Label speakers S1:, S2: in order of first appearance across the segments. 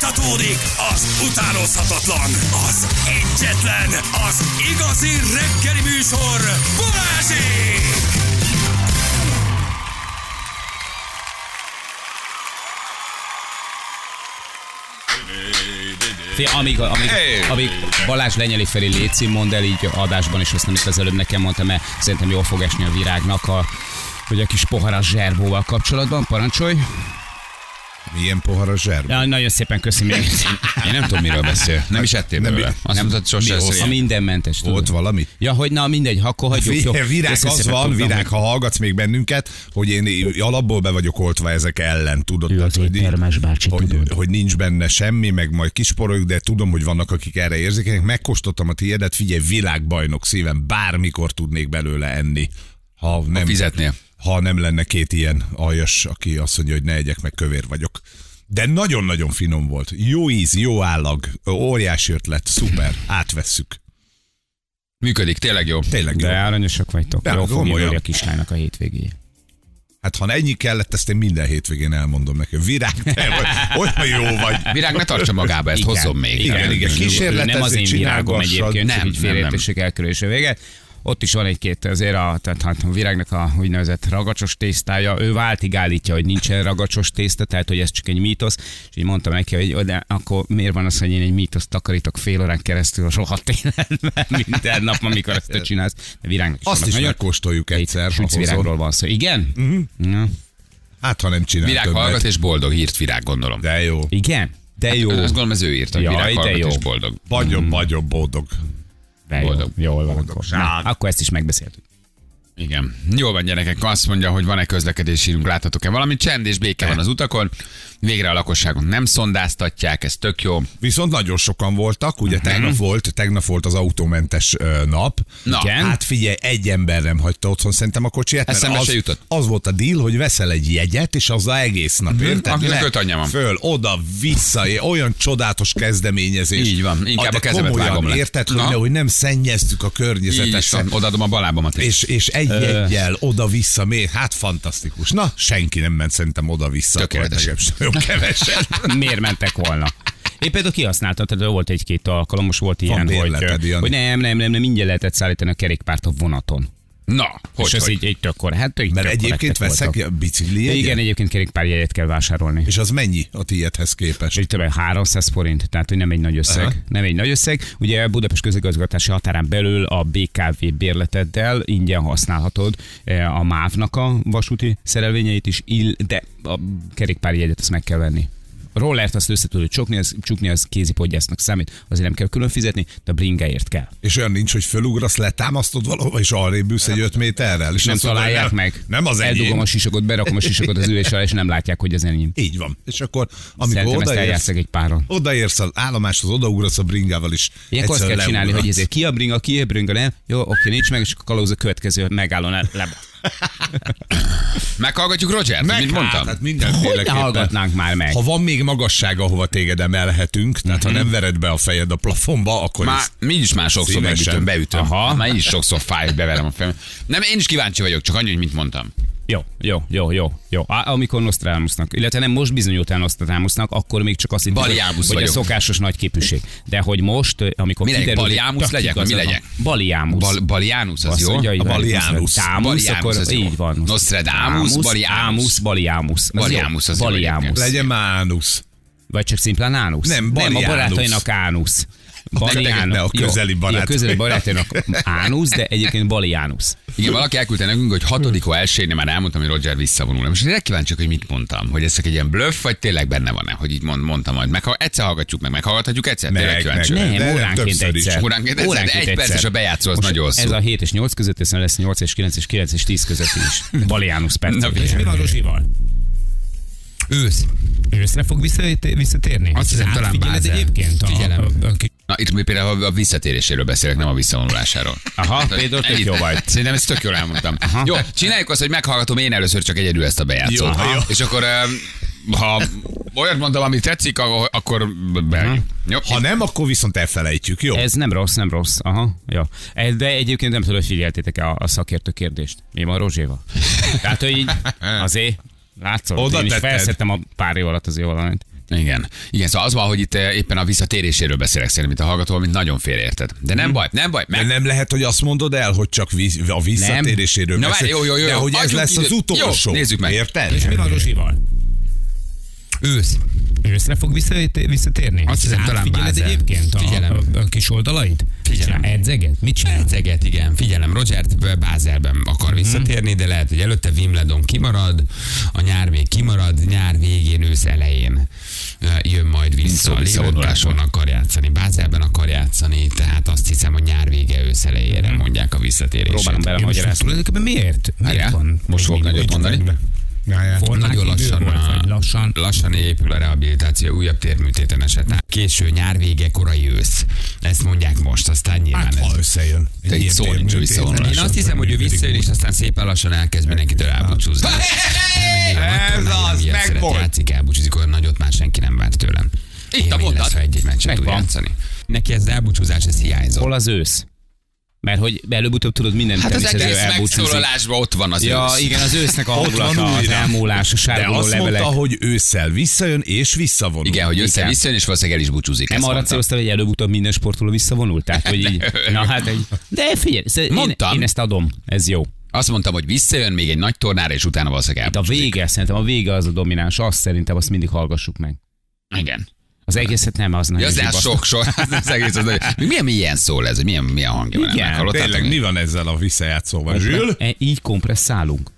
S1: Fújtatódik az utánozhatatlan, az egyetlen, az igazi reggeli műsor, Balázsék!
S2: Fé, amíg, amíg,
S3: Hey!
S2: amíg Balázs lenyeli felé Léci, mondd el így adásban, és azt nem itt az előbb nekem mondtam, mert szerintem jól fog esni a virágnak a hogy a kis poharas zserbóval kapcsolatban, parancsolj.
S3: Milyen poharas zserb?
S2: Ja, nagyon szépen köszi még.
S4: Én nem tudom, miről beszél. Nem is ettél
S3: Nem, mi-
S4: belőle. Azt mondtad, sose
S2: Mi-
S4: eszel
S2: A
S4: ilyen.
S2: mindenmentes. tudod.
S3: Volt valami?
S2: Ja, hogy na mindegy, ha akkor hagyjuk. jó.
S3: Figyelj, virág
S2: Köszi
S3: az
S2: szépen,
S3: van,
S2: tudtam,
S3: virág,
S2: hogy-
S3: ha hallgatsz még bennünket, hogy én alapból be vagyok oltva ezek ellen, tudod?
S2: Ő az
S3: hogy,
S2: éttermes bácsi,
S3: hogy,
S2: tudod.
S3: hogy, nincs benne semmi, meg majd kisporoljuk, de tudom, hogy vannak, akik erre érzékenyek. Megkóstoltam a tiédet, figyelj, világbajnok szívem, bármikor tudnék belőle enni. Ha nem,
S4: fizetnél.
S3: Ha nem lenne két ilyen aljas, aki azt mondja, hogy ne egyek, meg kövér vagyok. De nagyon-nagyon finom volt. Jó íz, jó állag, óriási ötlet, szuper, átvesszük.
S4: Működik, tényleg jó.
S3: Tényleg jó.
S2: De aranyosak vagytok.
S3: De,
S2: Jól fog
S3: komolyan.
S2: jönni a kislánynak a hétvégéjét.
S3: Hát ha ennyi kellett, ezt én minden hétvégén elmondom neki. Virág, te vagy, olyan jó vagy.
S4: Virág, ne tartsa magába, ezt
S2: Igen.
S4: hozzon még.
S3: Igen, igen. Kísérletezzük,
S2: Nem az én virágom
S3: csinálgassad.
S2: egyébként, nem,
S4: Nem,
S2: így
S4: nem, nem.
S2: félértésük elkerülése véget. Ott is van egy-két azért a, tehát hát a virágnak a úgynevezett ragacsos tésztája. Ő váltig állítja, hogy nincsen ragacsos tészta, tehát hogy ez csak egy mítosz. És így mondtam neki, hogy "Ö, de akkor miért van az, hogy én egy mítoszt takarítok fél órán keresztül a rohadt életben minden nap, amikor ezt te csinálsz. De virágnak is
S3: Azt
S2: vannak
S3: is
S2: nagyon-
S3: megkóstoljuk egyszer, ha
S2: Egy
S3: hozol.
S2: virágról van szó. Igen? Na,
S3: Hát, ha nem csinál
S4: Virág
S3: többet.
S4: hallgat és boldog, hírt Virág, gondolom.
S3: De jó.
S2: Igen? De jó.
S4: Hát, Azt gondolom, ez ő írt, hogy
S2: Jaj,
S4: Virág
S2: de
S4: hallgat
S2: jó.
S4: és boldog.
S3: Nagyon, nagyon boldog.
S2: De jó.
S4: Boldog.
S2: Jól van. akkor. Na, akkor ezt is megbeszéltük.
S4: Igen. Jól van, gyerekek. Azt mondja, hogy van-e közlekedési hírünk, láthatok-e valamit. Csend és béke van az utakon. Végre a lakosságot nem szondáztatják, ez tök jó.
S3: Viszont nagyon sokan voltak, ugye
S4: Mhm.
S3: tegnap volt, tegnap volt az autómentes ö, nap.
S4: Na.
S2: Igen?
S3: Hát figyelj, egy ember nem hagyta otthon szerintem a kocsiját, mert
S4: Eszembe
S3: az,
S4: se jutott.
S3: az volt a deal, hogy veszel egy jegyet, és azzal egész nap, mm-hmm. érted?
S4: Mhm. Akinek
S3: Le-
S4: öt anyja van.
S3: Föl, oda, vissza, olyan csodálatos kezdeményezés.
S4: Így van, inkább
S3: de
S4: a kezemet
S3: komolyan,
S4: vágom le.
S3: Érted,
S4: Na.
S3: hogy, hogy nem szennyeztük a
S4: Így
S3: környezetet.
S4: is van.
S3: sem.
S4: Odaadom a balábamat is.
S3: És, és egy jegyel oda-vissza még, hát fantasztikus. Na, senki nem ment szerintem oda-vissza.
S4: Tökéletes.
S3: Akkor legalább Nagyon kevesen.
S2: miért mentek volna. Én például kihasználtam, tehát volt egy-két alkalom, most volt ilyen,
S3: bérleted,
S2: hogy,
S3: Jani?
S2: hogy nem, nem, nem, nem, mindjárt lehetett szállítani a kerékpárt a vonaton.
S4: Na, hogy,
S2: és ez
S4: hogy.
S2: így, így tök korrekt. Hát, így
S3: Mert
S2: tök
S3: egyébként
S2: korrektek
S3: veszek
S2: voltak.
S3: a bicikli
S2: De
S3: jegyet?
S2: Igen, egyébként kerékpárjegyet kell vásárolni.
S3: És az mennyi a tiédhez
S2: És
S3: képest?
S2: így több 300 forint, tehát hogy nem egy nagy összeg.
S3: Aha.
S2: Nem egy nagy összeg. Ugye Budapest közigazgatási határán belül a BKV bérleteddel ingyen használhatod eh, a MÁV-nak a vasúti szerelvényeit is, ill, de a kerékpári jegyet azt meg kell venni. A rollert azt össze tudod csukni, az, csukni az kézipodgyásznak számít, azért nem kell külön fizetni, de a bringáért kell.
S3: És olyan nincs, hogy fölugrasz, letámasztod valahova, és arrébb ülsz egy 5 méterrel. És
S2: És nem
S3: azt mondod,
S2: találják
S3: nem,
S2: meg.
S3: Nem az
S2: Eldugom
S3: enyém.
S2: a sisakot, berakom a sisakot az ülés alá, és nem látják, hogy az enyém.
S3: Így van. És akkor, amikor
S2: Szerintem ezt
S3: odaérsz,
S2: eljátszak egy páron.
S3: odaérsz az állomáshoz, odaugrasz a bringával is.
S2: Ilyenkor azt kell
S3: egyszerűen
S2: csinálni, hogy izé ezért
S3: leugratsz.
S2: ki a bringa, ki a bringa, nem? Jó, oké, nincs meg, és akkor kalóz a következő megállón le. le.
S4: Meghallgatjuk Roger,
S3: Meg,
S4: mint
S3: Hát,
S4: mondtam.
S3: hát
S2: Hogy ne
S3: mindenféleképpen.
S2: hallgatnánk már meg?
S3: Ha van még magasság, ahova téged emelhetünk, tehát ha nem vered be a fejed a plafonba, akkor
S4: Már
S3: ezt-
S4: mi is már sokszor
S3: Szívesen.
S4: megütöm, beütöm. Aha. Már így is sokszor fáj, hogy beverem a fejem. Nem, Hát én is kíváncsi vagyok, csak annyi, hogy mit mondtam.
S2: Jó, jó, jó, jó, jó. Á, Amikor Nostradamusnak, illetve nem most bizonyult el Nostradamusnak, akkor még csak azt hittem, hogy,
S4: Baliámus
S2: hogy a
S4: vagyok.
S2: szokásos nagy képűség. De hogy most, eh, amikor
S4: Mi legyek,
S2: kiderül, hogy
S4: Baliámus
S2: tök
S4: legyek, vagy mi
S2: igazad van.
S4: legyek?
S2: Baliámus.
S4: Bal, Balianus, az
S2: Azt
S4: jó?
S2: mondja,
S3: A
S2: hogy
S3: Baliánusz.
S2: Támusz,
S4: Baliánusz,
S2: akkor
S4: az jó.
S2: így van.
S4: Nostradamus,
S2: Támusz,
S4: Baliánusz.
S2: Ámusz, Baliámus. Az jó.
S4: Baliánusz az jó
S2: Baliánusz.
S4: egyébként.
S3: legyen mánusz.
S2: Vagy csak szimplán ánusz?
S3: Nem,
S2: nem a
S3: Baliánusz.
S2: barátainak ánusz.
S3: Nektek ne, a közeli
S2: A
S3: barátai.
S2: közeli barátainak ánusz, de egyébként baliánusz.
S4: Igen, valaki elküldte nekünk, hogy hatodikó elsőjén már elmondtam, hogy Roger visszavonul. Most én kíváncsiak, hogy mit mondtam. Hogy ez csak egy ilyen bluff, vagy tényleg benne van-e, hogy így mond, mondtam majd. Meg, ha egyszer hallgatjuk meg, meghallgathatjuk egyszer,
S3: Meg,
S4: tényleg kíváncsi.
S3: meg,
S4: vagyok.
S2: Nem,
S3: De nem,
S2: óránként
S3: többször is.
S2: egyszer.
S4: Óránként egyszer, de egy perces a bejátszó, az
S2: Most
S4: nagyon hosszú.
S2: Ez a 7 és 8 között, hiszen lesz 8 és 9 és 9 és 10 között is. Baliánusz perc.
S4: Na, és mi
S2: van Rozsival?
S5: Ősz. Őszre fog visszaté- visszatérni?
S4: Azt hiszem, talán
S5: Átfigyeled
S4: Bázel.
S5: egyébként a,
S4: Figyelem.
S5: a, a kis
S4: Na, itt mi például a visszatéréséről beszélek, nem a visszavonulásáról.
S2: Aha, például tök
S4: Ennyit-
S2: jó vagy.
S4: Szerintem ezt tök jól elmondtam. Jó, csináljuk azt, hogy meghallgatom én először csak egyedül ezt a
S3: Jó,
S4: bejátszót.
S3: aha.
S4: És akkor, öm, ha olyat mondom, ami tetszik, ak- akkor beljük. Jó?
S3: Ha nem, akkor viszont elfelejtjük, jó?
S2: Ez nem rossz, nem rossz. Aha, jó. E, De egyébként nem tudom, hogy figyeltétek a, a szakértő kérdést. Mi van Rozséval? Tehát, hogy így azért látszol,
S3: Oda
S2: én is
S3: tetted.
S2: felszettem a pár év alatt azért valamit.
S4: Igen. Igen, szóval az van, hogy itt eh, éppen a visszatéréséről beszélek szerintem, mint a hallgató, amit nagyon félérted. De nem baj, nem baj.
S3: De
S4: Meg,
S3: nem lehet, hogy azt mondod el, hogy csak víz, a visszatéréséről
S4: Na, várj,
S3: beszél,
S4: jó, jó, jó,
S3: de
S4: jó.
S3: hogy ez
S4: Adjunk
S3: lesz
S4: időt.
S3: az utolsó.
S4: Jó, nézzük meg.
S3: Érted?
S5: És mi van Zsuzsival? Ősz. Őszre fog vissza- visszatérni? Hát
S6: Azt hiszem, talán
S5: Figyeled
S6: Bázel.
S5: egyébként a,
S6: Figyelem.
S5: a, a kis oldalait?
S6: Figyelem.
S5: Csinál Edzeget? Mit csinál?
S6: Edzeget, igen, figyelem, Rogert eh, Bázelben akar visszatérni, de lehet, hogy előtte Wimbledon kimarad, a nyár még kimarad, nyár végén, ősz elején eh, jön majd
S4: szó
S6: vissza.
S4: visszavonulásról.
S6: Liverpoolban akar játszani, Bázelben akar játszani, tehát azt hiszem, hogy nyár vége, ősz elejére mondják a
S2: Próbálom
S6: visszatérését.
S5: Jó, most
S2: belemagyarázni.
S5: tulajdonképpen miért? Miért
S4: várjál,
S5: van?
S4: most fogok nagyot mondani.
S5: Formált
S6: hát Nagyon
S5: idő
S6: lassan,
S5: volt,
S6: a-
S5: vagy lassan.
S6: lassan épül a rehabilitáció újabb térműtéten esetén. Késő nyár vége, korai ősz. Ezt mondják most, aztán nyilván
S3: Hát,
S6: ez
S3: ha összejön.
S4: Te itt szó nincs a
S6: Én
S4: visszavonulásról.
S6: azt hiszem, hogy ő visszajön, és aztán szépen lassan elkezd mindenkitől elbúcsúzni.
S4: Ez az, meg
S6: volt.
S4: volt.
S6: Játszik, elbúcsúzik olyan nagyot, már senki nem várt tőlem.
S4: Itt a
S6: Élmény
S4: mondat.
S6: lesz, ha egy-egy meccset tud
S2: Megvan.
S6: játszani. Neki ez az elbúcsúzás, ez hiányzott.
S2: Hol az ősz? Mert hogy előbb-utóbb tudod minden
S4: Hát az
S2: teniszező
S4: egész
S2: elbúcsúzik.
S4: megszólalásban ott van az
S2: Ja,
S4: ősz.
S2: igen, az ősznek a hangulata,
S3: van
S2: az
S3: újra.
S2: elmúlás, a
S3: De
S2: sárguló
S3: azt
S2: levelek.
S3: mondta, hogy ősszel visszajön és visszavonul.
S4: Igen, hogy össze visszajön, és valószínűleg el is búcsúzik.
S2: Nem
S4: ezt
S2: arra
S4: mondta.
S2: céloztál, hogy előbb-utóbb minden sportoló visszavonult? Tehát, hogy így, na hát egy... De figyelj, szóval én,
S4: Mondtam.
S2: én, ezt adom, ez jó.
S4: Azt mondtam, hogy visszajön még egy nagy tornára, és utána valószínűleg
S2: De a
S4: elbúcsúzik.
S2: vége, szerintem a vége az a domináns, azt szerintem azt mindig hallgassuk meg.
S4: Igen.
S2: Az egészet nem, az
S4: Ja,
S2: nagyon
S4: az de hát
S2: zsibasz.
S4: sok sor. Az egész az nagyon- Mi- Milyen milyen szól ez? Milyen, milyen hangja van?
S2: Igen,
S4: ennek? Hallottátok
S3: Tényleg,
S4: még?
S3: mi van ezzel a visszajátszóval? Zsül?
S2: E, Így kompresszálunk.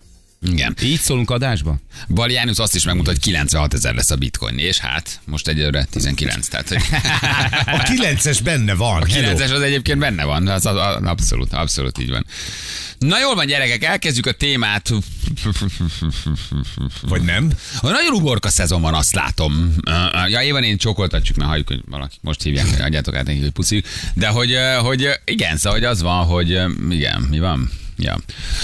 S4: Igen.
S2: Így szólunk adásba?
S4: Bal János azt is megmutat, hogy 96 ezer lesz a bitcoin, és hát most egyelőre 19. Tehát, hogy
S3: A kilences benne van.
S4: a
S3: Hello.
S4: 9-es az egyébként benne van, az, az, az, abszolút, abszolút így van. Na jól van gyerekek, elkezdjük a témát.
S3: Vagy nem?
S4: A nagyon uborka szezon van, azt látom. Ja, Évan, én csókoltatjuk, mert halljuk, hogy valaki most hívják, hogy adjátok át nekik, hogy puszi. De hogy, ö, hogy ö, igen, szóval hogy az van, hogy ö, igen, mi van? Ja.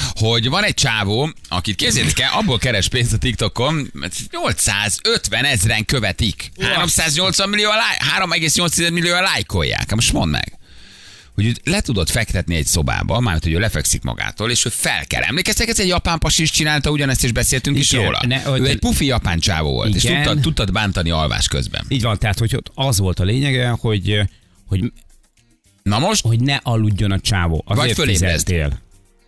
S4: Hogy van egy csávó, akit képzétek el, abból keres pénzt a TikTokon, mert 850 ezeren követik. 380 millió, a láj- 3,8 millió a lájkolják. Hát Most mondd meg hogy őt le tudod fektetni egy szobába, mármint, hogy ő lefekszik magától, és ő fel kell. Emlékeztek, ez egy japán pasi is csinálta, ugyanezt is beszéltünk is
S2: Igen,
S4: róla.
S2: ne,
S4: Ne,
S2: hogy-
S4: ő egy pufi japán csávó volt, és
S2: Igen.
S4: tudtad, tudtad bántani alvás közben.
S2: Így van, tehát hogy ott az volt a lényege, hogy, hogy,
S4: Na most,
S2: hogy ne aludjon a csávó. Azért
S4: fölébredj.
S2: fizettél.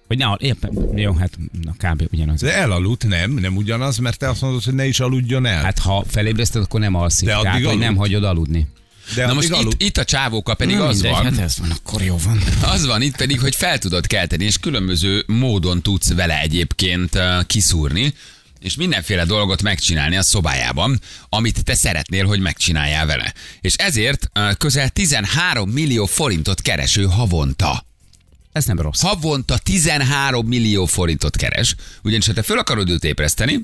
S2: Hogy ne, al- éppen, jó, hát na, kb. ugyanaz.
S3: De elaludt, nem, nem ugyanaz, mert te azt mondod, hogy ne is aludjon el.
S2: Hát ha felébreszted, akkor nem alszik.
S3: De addig
S2: tehát, hogy
S3: aludt.
S2: nem hagyod aludni. hát
S3: De
S4: na
S3: addig
S4: most itt,
S3: aludt.
S4: itt, a csávóka pedig az van,
S2: ez van, akkor jó van.
S4: Az van itt pedig, hogy fel tudod kelteni, és különböző módon tudsz vele egyébként ö, kiszúrni, és mindenféle dolgot megcsinálni a szobájában, amit te szeretnél, hogy megcsináljál vele. És ezért ö, közel 13 millió forintot kereső havonta.
S2: Ez nem rossz.
S4: Havonta 13 millió forintot keres, ugyanis ha te föl akarod őt ébreszteni,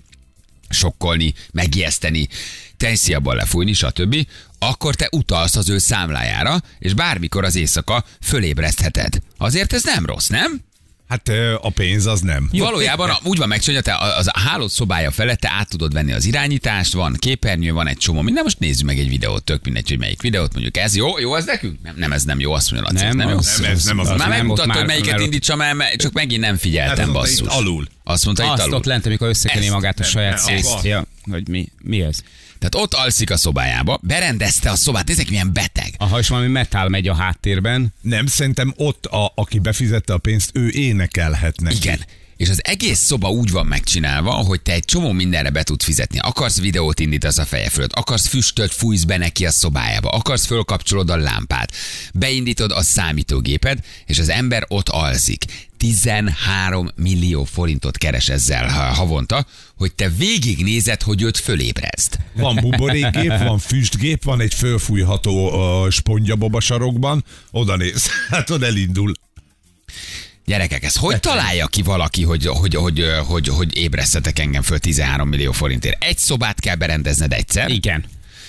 S4: sokkolni, megijeszteni, tensziabban lefújni, stb., akkor te utalsz az ő számlájára, és bármikor az éjszaka fölébresztheted. Azért ez nem rossz, nem?
S3: Hát ö, a pénz az nem.
S4: Jó. Valójában a- úgy van megcsinálva, te az a hálód szobája felett te át tudod venni az irányítást, van képernyő, van egy csomó minden, most nézzük meg egy videót, tök mindegy, hogy melyik videót mondjuk ez jó, jó ez nekünk? Nem, nem ez nem jó, azt mondja Laci, ez
S2: Nem,
S4: nem jó.
S2: az-
S3: Nem, ez nem az. Hát,
S2: az-
S4: Már
S2: nem,
S4: megmutatta,
S2: ott
S4: hogy
S2: már-
S4: melyiket
S2: már ott-
S4: indítsam el, mert csak megint nem
S3: Azt
S4: figyeltem,
S3: mondta, itt
S4: basszus.
S3: alul.
S4: Azt mondta, itt
S2: Azt
S4: alul.
S2: ott lent, amikor összekené
S4: Ezt-
S2: magát a
S3: nem,
S2: saját
S3: ne,
S2: szészt.
S3: abba.
S2: Ja, hogy mi, mi ez?
S4: Tehát ott alszik a szobájába, berendezte a szobát, nézzek milyen beteg.
S2: Aha, és valami metál megy a háttérben.
S3: Nem, szerintem ott, a, aki befizette a pénzt, ő énekelhet neki.
S4: Igen. És az egész szoba úgy van megcsinálva, hogy te egy csomó mindenre be tudsz fizetni. Akarsz videót indítasz a feje fölött, akarsz füstöt fújsz be neki a szobájába, akarsz fölkapcsolod a lámpát, beindítod a számítógéped, és az ember ott alszik. 13 millió forintot keres ezzel ha- havonta, hogy te végignézed, hogy őt fölébrezd.
S3: Van buborékgép, van füstgép, van egy fölfújható uh, spongya boba sarokban, oda néz, hát oda elindul.
S4: Gyerekek, ez hogy találja ki valaki, hogy, hogy, hogy, hogy, hogy ébresztetek engem föl 13 millió forintért? Egy szobát kell berendezned egyszer.
S2: Igen.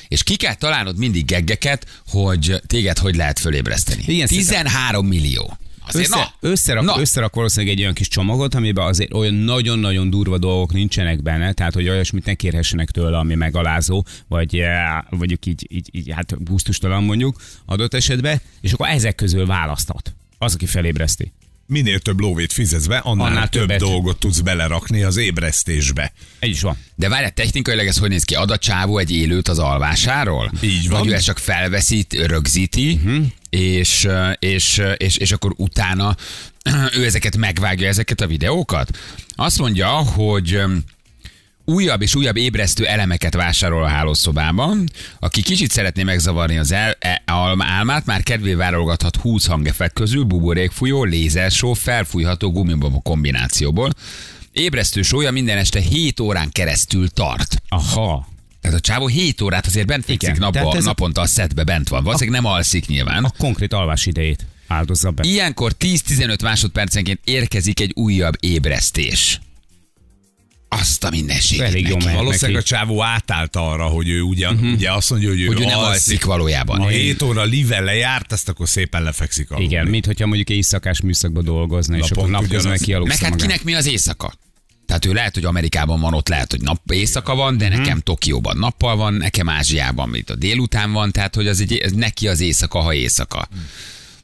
S4: És ki kell találnod mindig geggeket, hogy téged hogy lehet fölébreszteni.
S2: Igen,
S4: 13 millió. Azért
S2: Össze,
S4: na,
S2: összerak,
S4: na.
S2: összerak valószínűleg egy olyan kis csomagot, amiben azért olyan nagyon-nagyon durva dolgok nincsenek benne, tehát hogy olyasmit ne kérhessenek tőle, ami megalázó, vagy eh, mondjuk így, így, így hát gusztustalan mondjuk adott esetben, és akkor ezek közül választhat. Az, aki felébreszti.
S3: minél több lóvét fizetsz be, annál,
S2: Annál
S3: annál több
S2: többet.
S3: dolgot tudsz belerakni az ébresztésbe.
S2: Egy is van.
S4: De várjál, technikailag ez hogy néz ki? Ad a csávó egy élőt az alvásáról?
S3: Így van.
S4: Vagy ő ezt csak felveszít, rögzíti, uh-huh. és, eh, és, és, és akkor utána ő ezeket megvágja, ezeket a videókat? Azt mondja, hogy öm, újabb és újabb ébresztő elemeket vásárol a hálószobában. Aki kicsit szeretné megzavarni az el, e, alm- álmát, már kedvé válogathat 20 hangefek közül buborékfújó, lézersó, felfújható gumibaba kombinációból. Ébresztő sója minden este 7 órán keresztül tart.
S2: Aha.
S4: Tehát a csávó 7 órát azért bent fekszik
S2: Igen,
S4: napba,
S2: tehát ez a-
S4: naponta a szedbe bent van. Valószínűleg nem alszik nyilván.
S2: A konkrét alvás idejét áldozza be.
S4: Ilyenkor 10-15 másodpercenként érkezik egy újabb ébresztés. Azt a mindenségét
S2: Elég jó
S4: neki.
S2: mehet
S3: Valószínűleg
S2: neki.
S3: a csávó átállt arra, hogy ő ugyan, uh-huh. ugye azt mondja, hogy ő,
S4: Hogy ő nem alszik valójában.
S3: Ha 7 óra live lejárt, ezt akkor szépen lefekszik aludni.
S2: Igen, mint hogyha mondjuk éjszakás műszakba dolgozna, és
S3: Napon
S2: akkor napközben
S3: ugyanaz.
S2: kialugsza
S4: Meg hát
S2: magát.
S4: kinek mi az éjszaka? Tehát ő lehet, hogy Amerikában van, ott lehet, hogy nap éjszaka van, de nekem Tokióban nappal van, nekem Ázsiában, mint a délután van, tehát hogy az egy, ez neki az éjszaka, ha éjszaka.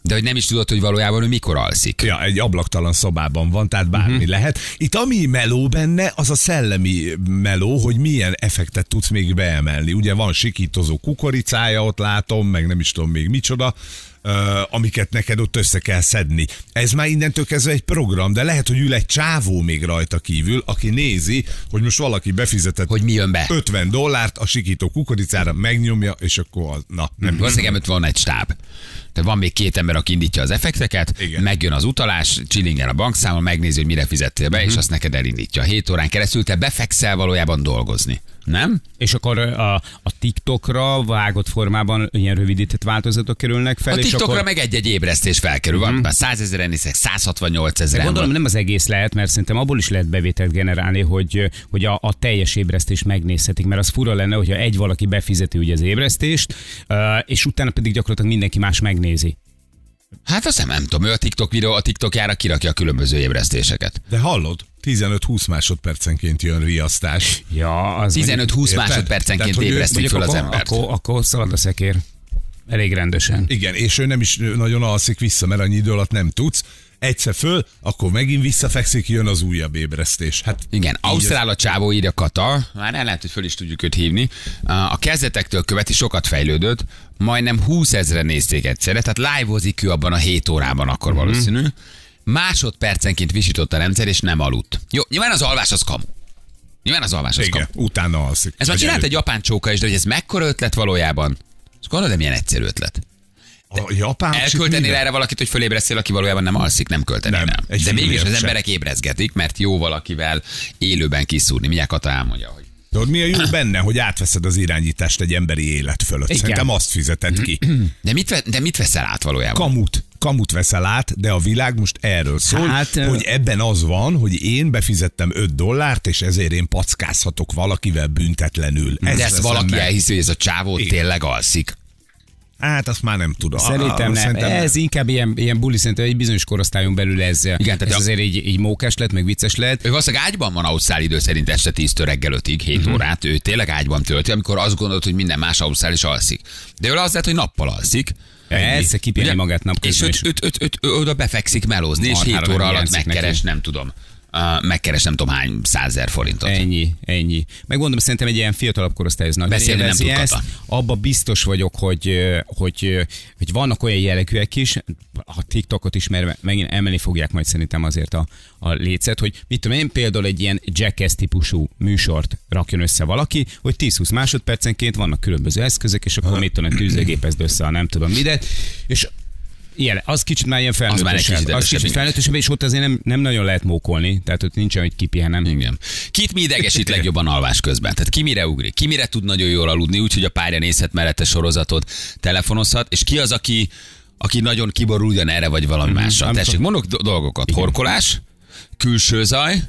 S4: De hogy nem is tudod, hogy valójában ő mikor alszik.
S3: Ja, egy ablaktalan szobában van, tehát bármi uh-huh. lehet. Itt ami meló benne, az a szellemi meló, hogy milyen effektet tudsz még beemelni. Ugye van sikítozó kukoricája, ott látom, meg nem is tudom még micsoda, ö, amiket neked ott össze kell szedni. Ez már innentől kezdve egy program, de lehet, hogy ül egy csávó még rajta kívül, aki nézi, hogy most valaki befizetett
S4: Hogy mi jön be.
S3: 50 dollárt a sikító kukoricára, megnyomja, és akkor az, na, nem
S4: Valószínűleg ott van egy stáb. Tehát van még két ember, aki indítja az effekteket, Igen.
S3: Igen.
S4: megjön az utalás, csillinger a bankszámon, megnézi, hogy mire fizettél be, és azt neked elindítja. 7 órán keresztül te befekszel valójában dolgozni. Nem?
S2: És akkor a, a TikTokra vágott formában ilyen rövidített változatok kerülnek fel.
S4: A
S2: és
S4: TikTokra
S2: akkor... Mhm.
S4: meg egy-egy ébresztés felkerül. Van már 100 ezeren hiszek, 168 ezeren
S2: Gondolom
S4: van.
S2: nem az egész lehet, mert szerintem abból is lehet bevételt generálni, hogy, hogy a, a teljes ébresztést megnézhetik, mert az fura lenne, hogyha egy valaki befizeti ugye az ébresztést, ö, és utána pedig gyakorlatilag mindenki más megnézi.
S4: Hát azt nem, nem tudom, ő a TikTok videó, a TikTokjára kirakja a különböző ébresztéseket.
S3: De hallod? 15-20 másodpercenként jön riasztás.
S2: Ja, az
S4: 15-20
S3: Érted? Tehát,
S4: másodpercenként
S3: hogy ő-
S4: ébresztik
S2: mondjuk,
S4: föl az
S2: akkor,
S4: embert.
S2: akkor, akkor szalad a szekér. Elég rendesen.
S3: Igen, és ő nem is nagyon alszik vissza, mert annyi idő alatt nem tudsz. Egyszer föl, akkor megint visszafekszik, jön az újabb ébresztés. Hát
S4: Igen, Ausztrál a csávó írja Kata, már el lehet, hogy föl is tudjuk őt hívni. A kezdetektől követi, sokat fejlődött, majdnem 20 ezre nézték egyszerre, tehát live-ozik ő abban a 7 órában akkor
S2: Mhm.
S4: valószínű. Másodpercenként visított a rendszer, és nem aludt. Jó, nyilván az alvás az kamu. Nyilván az alvás az kamu.
S3: igen, utána alszik.
S4: Ez már
S3: Vagy
S4: csinált
S3: előtt.
S4: egy japán csóka is, de hogy ez mekkora ötlet valójában? És gondolod, de milyen egyszerű ötlet.
S3: A japán
S4: Elköltenél
S3: mire?
S4: erre valakit, hogy fölébresztél, aki valójában nem alszik, nem költenél
S3: Hát, Nem,
S4: nem.
S3: egy
S4: De mégis
S3: fillért
S4: az
S3: sem.
S4: emberek ébrezgetik, mert jó valakivel élőben kiszúrni. Mindjárt Kata elmondja, hogy
S3: Tudod, mi a jó benne, hogy átveszed az irányítást egy emberi élet fölött? Igen. Szerintem azt fizeted ki.
S4: De mit, ve- de mit veszel át valójában?
S3: Kamut. Kamut veszel át, de a világ most erről szól,
S2: Hát, ö-
S3: hát, hogy ebben az van, hogy én befizettem 5 dollárt, és ezért én packázhatok valakivel büntetlenül.
S4: de ezt
S3: veszem
S4: valaki
S3: meg.
S4: elhiszi, hogy ez a csávó
S3: Igen.
S4: tényleg alszik.
S3: Hát azt már nem tudom. Ah,
S2: Szerintem nem.
S3: Szerintem
S2: ez inkább ilyen, ilyen buli, szerintem egy bizonyos korosztályon belül ez, Igen,
S4: tehát
S2: ez
S4: a-
S2: azért így, így mókás lett, meg vicces lett.
S4: Ő valószínűleg ágyban van Ausztrál idő szerint este 10-től reggel 5-ig, 7
S2: Mhm.
S4: órát, ő tényleg ágyban tölti, amikor azt gondolod, hogy minden más Ausztrál is alszik. De ő az lehet, hogy nappal alszik.
S2: Persze, kipiheni
S4: Ugye?
S2: magát napközben
S4: És
S2: is.
S4: öt, öt, öt, öt, oda befekszik melózni, és
S2: Marhára
S4: 7 óra alatt
S2: meghiányzik
S4: megkeres,
S2: neki.
S4: nem tudom. Uh, megkeres nem tudom hány százer forintot.
S2: Ennyi, ennyi. Megmondom, szerintem egy ilyen fiatalabb korosztály ez nagyon
S4: Beszélni nem
S2: élvezi
S4: tud,
S2: ezt.
S4: Kata.
S2: Abba biztos vagyok, hogy, hogy, hogy vannak olyan jellegűek is, a TikTokot ismerve megint emelni fogják majd szerintem azért a, a lécet, hogy mit tudom én, például egy ilyen jackass típusú műsort rakjon össze valaki, hogy 10-20 másodpercenként vannak különböző eszközök, és akkor mit tudom, én, tűzőgépezd össze a nem tudom midet, és Ilyen, az kicsit már ilyen
S4: egy
S2: felnőttesebb.
S4: kicsit
S2: Az,
S4: erősebb,
S2: kicsit
S4: igen.
S2: felnőttesebb, és ott azért nem, nem nagyon lehet mókolni, tehát ott nincsen, hogy kipihenem.
S4: Igen. Kit mi idegesít legjobban alvás közben? Tehát ki mire ugrik? Ki mire tud nagyon jól aludni, úgyhogy a párja nézhet mellette sorozatot, telefonozhat, és ki az, aki, aki nagyon kiborul ugyan erre vagy valami
S3: Mhm.
S4: mm-hmm. mással? Tessék, mondok do- dolgokat. Igen. Horkolás, külső zaj,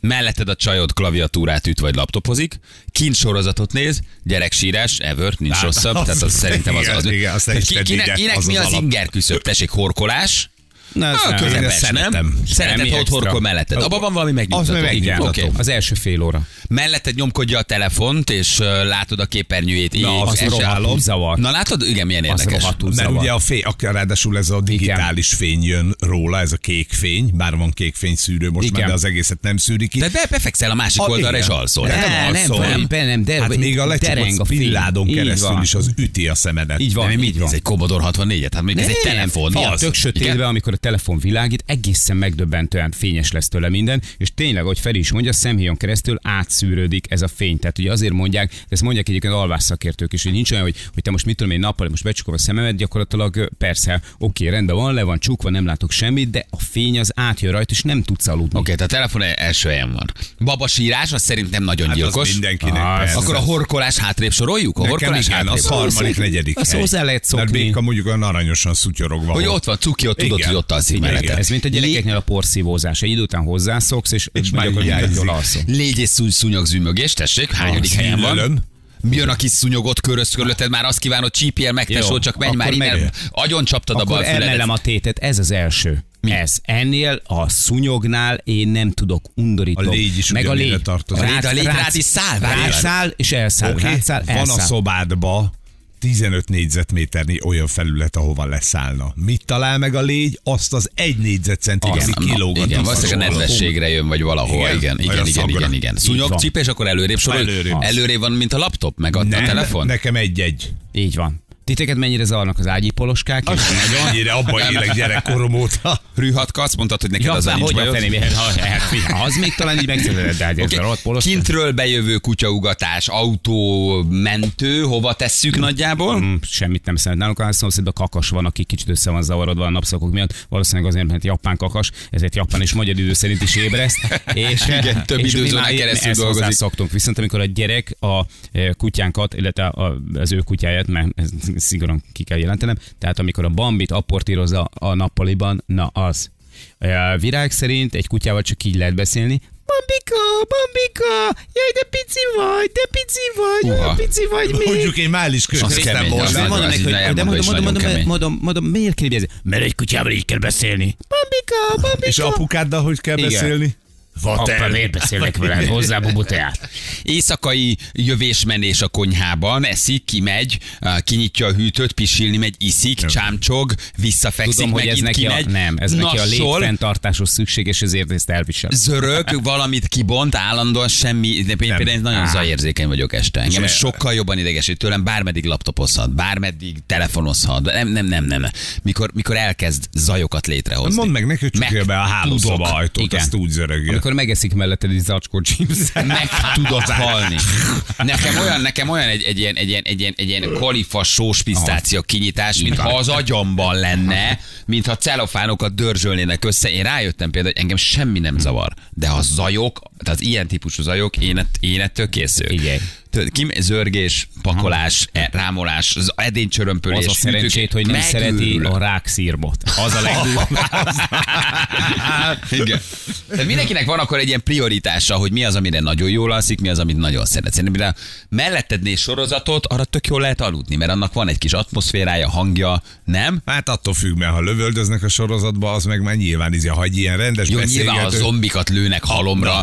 S4: melletted a csajod klaviatúrát üt vagy laptopozik, kint sorozatot néz, gyereksírás, ever, nincs
S3: Hát,
S4: rosszabb,
S3: az-
S4: tehát az szerintem az
S3: igen,
S4: az.
S3: igen, azt el is
S4: Ki-
S3: tedd,
S4: kinek
S3: igen,
S4: kinek
S3: az
S4: mi
S3: az
S4: az
S3: alap.
S4: inger küszöb? Tessék, horkolás,
S2: Na, ez
S4: Ah,
S2: nem.
S3: Én
S4: közepes,
S3: ezt szeretem.
S4: nem? Szereted,
S2: Semmi
S4: ha ott
S2: extra.
S4: horkol melletted. Abban van valami
S3: Az
S4: megnyugtató.
S3: meg
S4: Igen,
S3: megnyugtató.
S4: oké.
S2: Az első fél óra.
S4: Melletted nyomkodja a telefont, és ö, látod a képernyőjét. így,
S3: Na, az
S4: és-
S3: rohadtul
S2: zavar.
S4: Na látod? Igen, milyen érdekes.
S2: rohadtul
S3: Mert
S2: zavar.
S3: ugye a fény, ak- ráadásul ez a digitális fény jön róla, ez a kék fény, bár van kék fény szűrő most
S2: Igen.
S3: már, de az egészet nem szűri ki.
S4: De be, befekszel a másik oldalra, és alszol.
S3: De
S2: Ne,
S3: nem,
S2: nem,
S3: alszol.
S2: nem, be nem, de-
S3: hát még a
S2: dereng a
S3: lecsapott
S2: fény.
S3: pilládon
S2: Így
S3: keresztül
S2: van.
S3: is az üti a szemedet.
S2: Így van,
S4: Nem,
S2: így
S4: így
S2: van.
S4: Ez egy Commodore 64-et, hát még ez egy telefon.
S2: Fia,
S4: Az.
S2: tök sötétben,
S4: Igen?
S2: amikor a telefon világít, egészen megdöbbentően fényes lesz tőle minden, és tényleg, ahogy Feri is mondja, szemhéjon keresztül átszűrődik ez a fény. Tehát ugye azért mondják, de ezt mondják egyébként alvás szakértők is, hogy nincs olyan, hogy, hogy te most mit tudom én nappal, most becsukom a szememet, gyakorlatilag ö, persze, oké, rendben van, le van csukva, nem látok semmit, de a fény az átjön rajta, és nem tudsz aludni.
S4: Oké, tehát a telefon első helyen van. Baba sírás, az szerintem nagyon
S3: Hát az
S4: gyilkos.
S3: mindenkinek.
S2: Ah,
S3: persze.
S4: Akkor a horkolás hátrébb soroljuk? A
S3: Nekem
S4: horkolás
S3: igen,
S4: hátrébb.
S3: az
S2: Szóval-
S3: harmadik, negyedik
S2: azt
S3: hely.
S2: hozzá lehet
S3: Mert
S2: szokni.
S3: béka mondjuk olyan aranyosan szutyorogva.
S4: Hogy
S3: hol-
S4: ott van cuki, ott tudod,
S3: Igen.
S4: hogy ott alszik
S3: Igen.
S4: mellette.
S2: Ez mint a gyerekeknél a porszívózás. Egy idő után hozzászoksz, és, és
S3: már
S2: gyakorlatilag
S3: hiányzik.
S2: jól alszol.
S4: Légy és szúny, szúnyog zümögés, tessék, hányadik
S3: Az
S4: helyen
S3: illelön.
S4: van? Jön a kis szúnyogot köröz körülötted, már azt kívánod, csípjél meg, tesó,
S2: Jó,
S4: csak menj már
S2: akkor
S4: innen.
S2: meg-
S4: Agyon csaptad a bal
S2: Akkor
S4: füledet.
S2: emelem a tétet, ez az első. Mi? Ez. Ennél a szúnyognál én nem tudok undorító.
S3: A légy is
S2: Meg a
S3: ugyanide
S2: légy.
S3: tartozik.
S4: A légy- a légy rád is száll, várjál.
S2: Rátszáll, és elszáll.
S3: Oké?
S2: Okay.
S4: hát
S2: Rátszáll,
S3: Van a
S2: elszáll.
S3: szobádba 15 négyzetméternyi olyan felület, ahova leszállna. Mit talál meg a légy? Azt az egy négyzetcentit,
S4: Igen,
S3: ami
S4: na,
S3: kilógat.
S4: igen, valószínűleg a nedvességre jön, vagy valahol.
S3: Igen,
S4: Igen, igen,
S3: vagy a
S4: igen, igen,
S3: szagra.
S4: igen, igen. Szúnyog,
S2: van.
S4: csíp, és akkor előrébb sorol.
S3: Előrébb.
S4: Előrébb. van, mint a laptop, meg a, a
S3: Nem,
S4: telefon.
S3: Nekem egy-egy.
S2: Így van. Titeket mennyire zavarnak az ágyi poloskák?
S3: Nagyon? Ennyire abban élek gyerekkorom óta.
S4: Rühatka, azt mondtad, hogy neked
S2: Ja,
S4: az a
S2: bár
S4: nincs
S2: hogy a
S4: bajod.
S2: feném, ha- hát, figyelj, az még talán így megszerzed, de hát ez
S4: Oké.
S2: a rohadt poloska.
S4: Kintről bejövő kutyaugatás, autó, mentő, hova tesszük nagyjából?
S2: Mm, semmit nem szeret nálunk, a szomszédban kakas van, aki kicsit össze van zavarodva a napszakok miatt, valószínűleg azért, mert japán kakas, ezért japán és magyar idő szerint is ébreszt, és,
S4: Igen, több
S2: és mi
S4: időzónán
S2: már
S4: keresztül
S2: ezt
S4: dolgozik.
S2: szoktunk. Viszont amikor a gyerek a e, kutyánkat, illetve a, az ő kutyáját, mert ez szigorúan ki kell jelentenem, tehát amikor a Bambit apportírozza a nappaliban, na az. E, Virág szerint egy kutyával csak így lehet beszélni, Bambika, Bambika, jaj, de pici vagy, de pici vagy,
S4: Uha.
S2: olyan pici vagy még.
S3: Mondjuk én már is
S4: kemény,
S3: köszönöm
S4: az
S3: most.
S2: De
S4: nagyon-
S2: mondom
S4: az
S2: neki,
S4: így
S2: hogy de
S4: elmondva
S2: mondom,
S4: is
S2: mondom,
S4: nagyon
S2: mondom,
S4: kemény.
S2: mondom, mondom, mondom, miért kérdezi? Mert egy kutyával így kell beszélni. Bambika, bambika.
S3: És apukáddal hogy kell
S2: Igen.
S3: beszélni?
S2: Apa, miért beszélnek veled hozzá, bubu teát?
S4: Éjszakai jövésmenés a konyhában, eszik, kimegy, á, kinyitja a hűtőt, pisilni megy, iszik, csámcsog, visszafekszik,
S2: Tudom, hogy
S4: megint
S2: ez neki a,
S4: kimegy.
S2: nem, ez neki a
S4: nassol,
S2: létfenntartásos szükséges, ezért ezt elvisel.
S4: Zörög, valamit kibont, állandóan semmi. Én például én nagyon zajérzékeny vagyok este. Engem ez sokkal jobban idegesít tőlem, bármeddig laptopozhat, bármeddig telefonozhat. Nem, nem, nem, nem. nem. Mikor, mikor elkezd zajokat létrehozni.
S3: Mondd meg neki, hogy csukja
S4: Meg
S3: be a hálószoba
S4: tudok.
S3: ajtót,
S4: Igen.
S3: azt úgy zörögjön.
S2: Amikor megeszik melletted egy zacskó chips.
S4: meg tudok halni. Nekem olyan, nekem olyan egy, egy ilyen, egy ilyen, egy ilyen, egy ilyen kalifa sós pisztácia kinyitás, mintha az agyamban lenne, mintha celofánokat dörzsölnének össze. Én rájöttem például, hogy engem semmi nem zavar, de a zajok, tehát az ilyen típusú zajok, én, ett- én ettől készülök.
S2: Igen.
S4: Tudod, Kim, zörgés, pakolás, e- rámolás, az edénycsörömpölés.
S2: Az a szerencsét, hogy nem szereti a rákszírmot. Az a legdurvább.
S4: Igen. Tehát mindenkinek van akkor egy ilyen prioritása, hogy mi az, amire nagyon jól alszik, mi az, amit nagyon szeret. Szerintem mire mellettednél sorozatot, arra tök jól lehet aludni, mert annak van egy kis atmoszférája, hangja, nem?
S3: Hát attól függ, mert ha lövöldöznek a sorozatba, az meg már nyilván izja, ha egy ilyen rendes
S4: Jó, nyilván a
S3: beszélgető,
S4: zombikat lőnek halomra.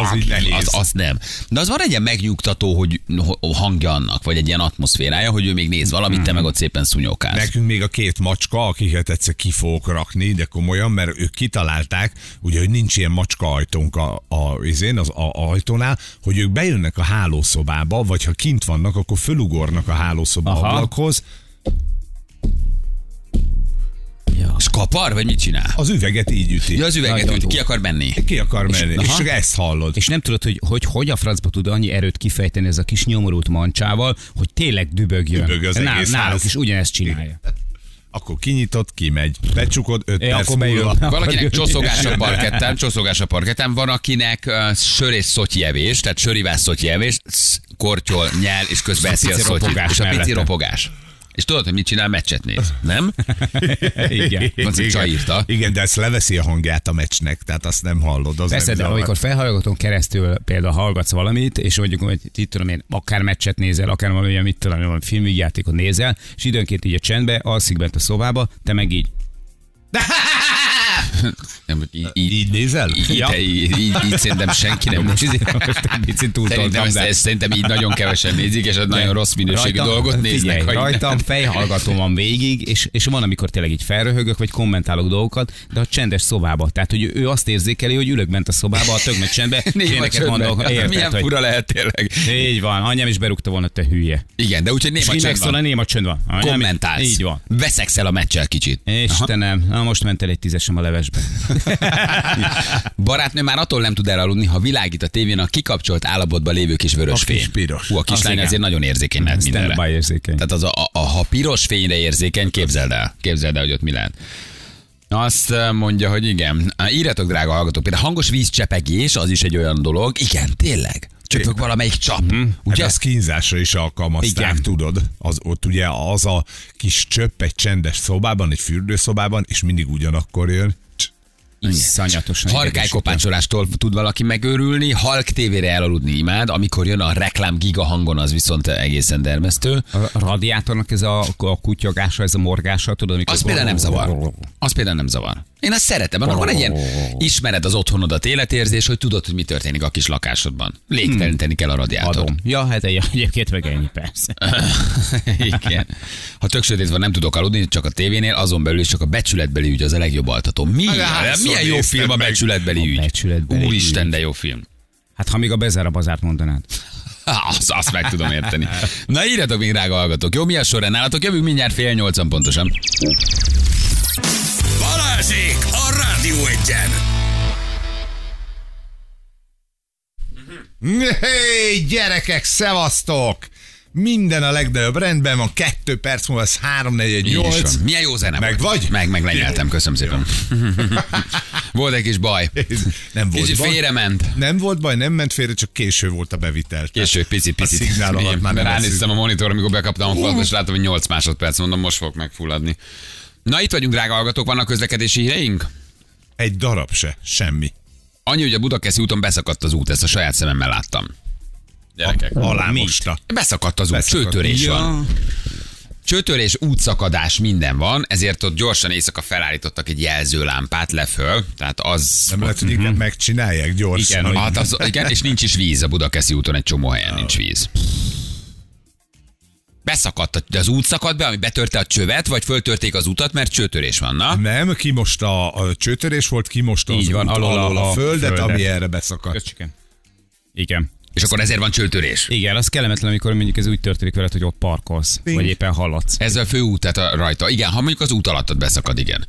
S3: Az így nehéz.
S4: Az, az nem. De az van egy ilyen megnyugtató, hogy ho- hangja annak, vagy egy ilyen atmoszférája, hogy ő még néz valamit, te meg ott szépen szúnyókálsz.
S3: Nekünk még a két macska, akiket egyszer ki fogok rakni, de komolyan, mert ők kitalálták, ugye, hogy nincs ilyen macska ajtónk a, a, izén, az a, a ajtónál, hogy ők bejönnek a hálószobába, vagy ha kint vannak, akkor fölugornak a hálószoba
S2: Aha.
S3: ablakhoz,
S4: És kapar, vagy mit csinál?
S3: az üveget így üti.
S4: Ja, az üveget
S2: Nagyon
S4: üt, ki
S2: durva.
S4: akar menni.
S3: Ki akar menni? És,
S2: aha.
S3: csak ezt hallod.
S2: És nem tudod, hogy, hogy hogy a francba tud annyi erőt kifejteni ez a kis nyomorult mancsával, hogy tényleg dübögjön.
S3: Dübög az
S2: Nál,
S3: egész
S2: náluk
S3: ház.
S2: is ugyanezt csinálja.
S3: Akkor kinyitod, kimegy. Becsukod, öt
S2: É,
S3: perc
S2: akkor bejön.
S3: múlva.
S4: Valakinek
S2: Akkor-
S4: csoszogás a parkettán, csoszogás a parkettán, van akinek uh, sör és szotyi evés, tehát sörivás szotyi evés, sz- kortyol, nyel, és közben eszi a
S2: pici
S4: szotyit.
S2: ropogás
S4: És a pici
S2: mellette.
S4: ropogás. És tudod, hogy mit csinál? Meccset néz, nem?
S2: Igen.
S4: Van, hogy
S3: Igen.
S4: írta.
S3: Igen, de ezt leveszi a hangját a meccsnek, tehát azt nem hallod. Az
S2: Persze,
S3: nem
S2: de
S3: zavar.
S2: amikor felhallgatón keresztül például hallgatsz valamit, és mondjuk, hogy itt tudom én, akár meccset nézel, akár valami, olyan, mit tudom én, valami filmjátékot nézel, és időnként így a csendbe, alszik bent a szobába, te meg így.
S4: Nem, hogy így, így,
S3: Így nézel?
S4: így,
S2: Ja.
S4: így, így, így szerintem senki nem nézi.
S2: Picit túltoltam,
S4: Szerintem, ezt,
S2: de-
S4: ezt, szerintem így nagyon kevesen nézik, és ott nagyon rossz minőségű
S2: Rajtam-
S4: dolgot néznek.
S2: Figyelj,
S4: hogy-
S2: rajtam fejhallgató van végig, és, és van, amikor tényleg így felröhögök, vagy kommentálok dolgokat, de a csendes szobába. Tehát, hogy ő azt érzékeli, hogy ülök bent a szobába, a tök megy csendbe, és
S4: Néma
S2: éneket
S4: csöndben. Hát
S2: mondok.
S4: Milyen
S2: Érted, hogy...
S4: fura lehet tényleg.
S2: Így van, anyám is berúgta volna, te hülye.
S4: Igen, de úgyhogy
S2: És
S4: néma
S2: ki
S4: csönd
S2: megszól, a
S4: van.
S2: néma csönd van. Anyám,
S4: Kommentálsz.
S2: Így van.
S4: Veszeksz el a meccsel kicsit.
S2: Istenem, na most ment el egy tízesem a levesbe.
S4: Barátnő már attól nem tud elaludni, ha világít a tévén a kikapcsolt állapotban lévő kis vörös
S3: A kis
S4: fény.
S3: piros.
S4: Hú, a kislány
S2: igen.
S4: azért nagyon érzékeny lehet mindenre.
S2: Stand-by érzékeny.
S4: Tehát az a, a, a, ha piros fényre érzékeny, képzeld el. Képzeld el, hogy ott mi lehet. Azt eh, mondja, hogy igen. Á, Írjatok, drága hallgatók, például hangos vízcsepegés, az is egy olyan dolog. Igen, tényleg. Csöpök valamelyik csap.
S3: Ugye
S4: Ugye?
S3: ezt Hát kínzásra is alkalmazták,
S4: Igen.
S3: Igen. tudod? Az, ott ugye az a kis csöpp egy csendes szobában, egy fürdőszobában, és mindig ugyanakkor jön. Cs.
S2: Iszonyatosan. idegesítő.
S4: Harkálykopácsolástól tud valaki megőrülni, halk tévére elaludni imád, amikor jön a reklám giga hangon, az viszont egészen dermesztő.
S2: A radiátornak ez a, a kutyogása, ez a morgása, tudod, amikor...
S4: Az például nem zavar. Az például nem zavar. Én azt szeretem, annak van egy ilyen ismered az otthonodat életérzés, hogy tudod, hogy mi történik a kis lakásodban. Légtelenteni kell a radiátor.
S2: Hmm. Adom. Ja, hát egy- egyébként meg ennyi, persze.
S4: Igen. Ha tök sötét van, nem tudok aludni, csak a tévénél, azon belül is csak a becsületbeli ügy az a legjobb altató. Mi?
S3: hányszor
S4: Milyen jó
S3: nézted
S4: film a
S3: hát, szóval meg?
S4: becsületbeli
S2: A
S4: ügy?
S2: becsületbeli
S4: Úristen, de jó film.
S2: Hát ha még a Bezár a bazárt mondanád.
S4: Az, azt meg tudom érteni. Na írjatok még, drága hallgatók. Jó, mi a sorrend nálatok? Jövünk mindjárt fél nyolcan pontosan.
S1: Balázsék a Rádió Egyen!
S3: Hé, gyerekek, szevasztok! Minden a legnagyobb rendben van, kettő perc múlva ez
S4: Így is
S3: 348.
S4: van. Milyen jó zene
S3: Meg
S4: volt.
S3: vagy?
S4: Meg, meg lenyeltem, köszönöm szépen. Volt egy kis baj.
S3: Nem volt
S4: Kicsit
S3: baj.
S4: félrement.
S3: Nem volt baj, nem ment félre, csak késő volt a bevitel.
S4: Késő, pici, pici.
S3: A szignál alatt már nem
S4: Ránéztem a monitorra, amikor bekaptam a fogat, és látom, hogy 8 másodperc, mondom, most fog megfulladni. Na itt vagyunk, drága hallgatók, vannak közlekedési híreink?
S3: eszünk. Egy darab se, semmi.
S4: Annyi, hogy a Budakeszi úton beszakadt az út, ezt a saját szememmel láttam. Gyerekek.
S3: Alá mosta.
S4: Beszakadt az út,
S3: Beszakadt.
S4: csőtörés
S3: Ja.
S4: van. Csőtörés, útszakadás, minden van, ezért ott gyorsan éjszaka felállítottak egy jelzőlámpát leföl, tehát az...
S3: Nem lehet, hogy igen, megcsinálják gyorsan.
S4: Mhm. igen, hát az, igen, és nincs is víz a Budakeszi úton, egy csomó helyen nincs víz. Beszakadt, a- de az út szakadt be, ami betörte a csövet, vagy föltörték az utat, mert csőtörés van, na?
S3: Nem, ki most a, a csőtörés volt, ki most az
S2: Így van,
S3: út
S2: alól
S3: alól a,
S2: a
S3: földet,
S2: földet.
S3: ami erre beszakadt.
S2: Köcsöken. Igen.
S4: És akkor ezért van csőtörés.
S2: Igen, az kellemetlen, amikor mondjuk ez úgy történik veled, hogy ott parkolsz, vagy éppen haladsz.
S4: Ez a főút, tehát a rajta. Igen, ha mondjuk az út alattad beszakad, igen.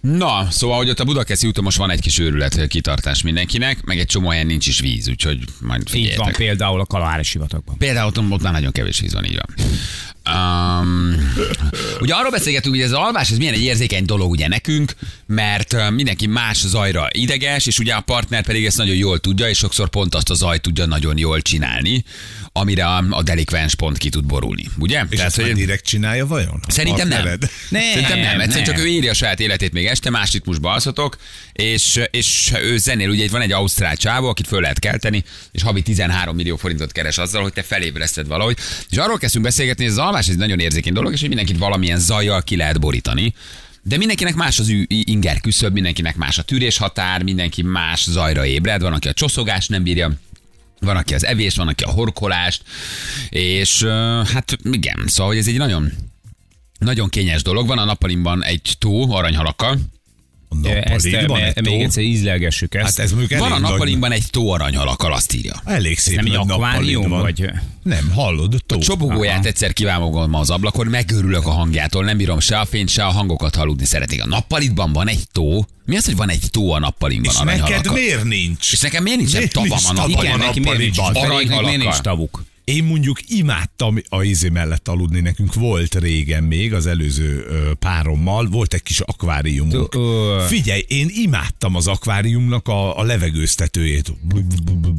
S4: Na, szóval, hogy ott a Budakeszi úton most van egy kis őrület kitartás mindenkinek, meg egy csomó helyen nincs is víz, úgyhogy majd
S2: Így van
S4: figyeljetek.
S2: például a Kalári sivatagban.
S4: Például ott, ott már nagyon kevés víz van, így van. Um, ugye arról beszélgetünk, hogy ez az alvás, ez milyen egy érzékeny dolog ugye nekünk, mert ö, mindenki más zajra ideges, és ugye a partner pedig ezt nagyon jól tudja, és sokszor pont azt a zajt tudja nagyon jól csinálni, amire a, a delikvens pont ki tud borulni, ugye?
S3: És ezt már direkt csinálja vajon? A
S4: Szerintem nem.
S3: partnered?
S4: Szerintem nem. Egyszerűen
S2: nem.
S4: csak ő írja a saját életét még este, más ritmusba alszatok, és, és ő zenél, ugye itt van egy ausztrál csávó, akit föl lehet kelteni, és havi 13 millió forintot keres azzal, hogy te felébreszted valahogy. És arról kezdtünk beszélgetni, hogy az alvás egy nagyon érzékeny dolog, és hogy mindenkit valamilyen zajjal ki lehet borítani. De mindenkinek más az ü- i- inger küszöb, mindenkinek más a tűrés határ, mindenki más zajra ébred, van, aki a csoszogást nem bírja, van, aki az evés, van, aki a horkolást, és ö, hát igen, szóval hogy ez egy nagyon nagyon kényes dolog. Van a nappalimban egy tó aranyhalakkal.
S3: A nappalig
S2: Ezt el-
S3: van egy
S2: me- még
S3: tó.
S2: egyszer ízlelgessük ezt.
S3: Hát ez mondjuk elég
S4: Van a
S3: nagy-
S4: nappalimban egy tó aranyhalakkal, azt írja.
S3: Elég szép
S2: nem egy
S3: nagy
S2: akvárium,
S3: nappalid van.
S2: vagy-
S3: Nem, hallod, tó.
S4: Csobogóját
S2: Aha.
S4: egyszer kivámogom az ablakon, megőrülök a hangjától, nem bírom se a fényt, se a hangokat halludni szeretik. A nappalitban van egy tó. Mi az, hogy van egy tó a nappalimban
S3: És neked
S4: aranyhalakkal?
S3: miért nincs?
S4: És nekem miért nincsen
S3: Miért
S4: tavam
S3: nincs
S4: a
S3: tavam
S4: nappaliban?
S3: a
S2: neki miért nincs,
S3: nappaliban?
S2: Ferének miért nincs
S4: Aranyhalakkal.
S2: tavuk?
S3: Én mondjuk imádtam a izé mellett aludni, nekünk volt régen még az előző ö, párommal, volt egy kis akváriumunk.
S2: Ö, ö.
S3: Figyelj, én imádtam az akváriumnak a, a levegőztetőjét.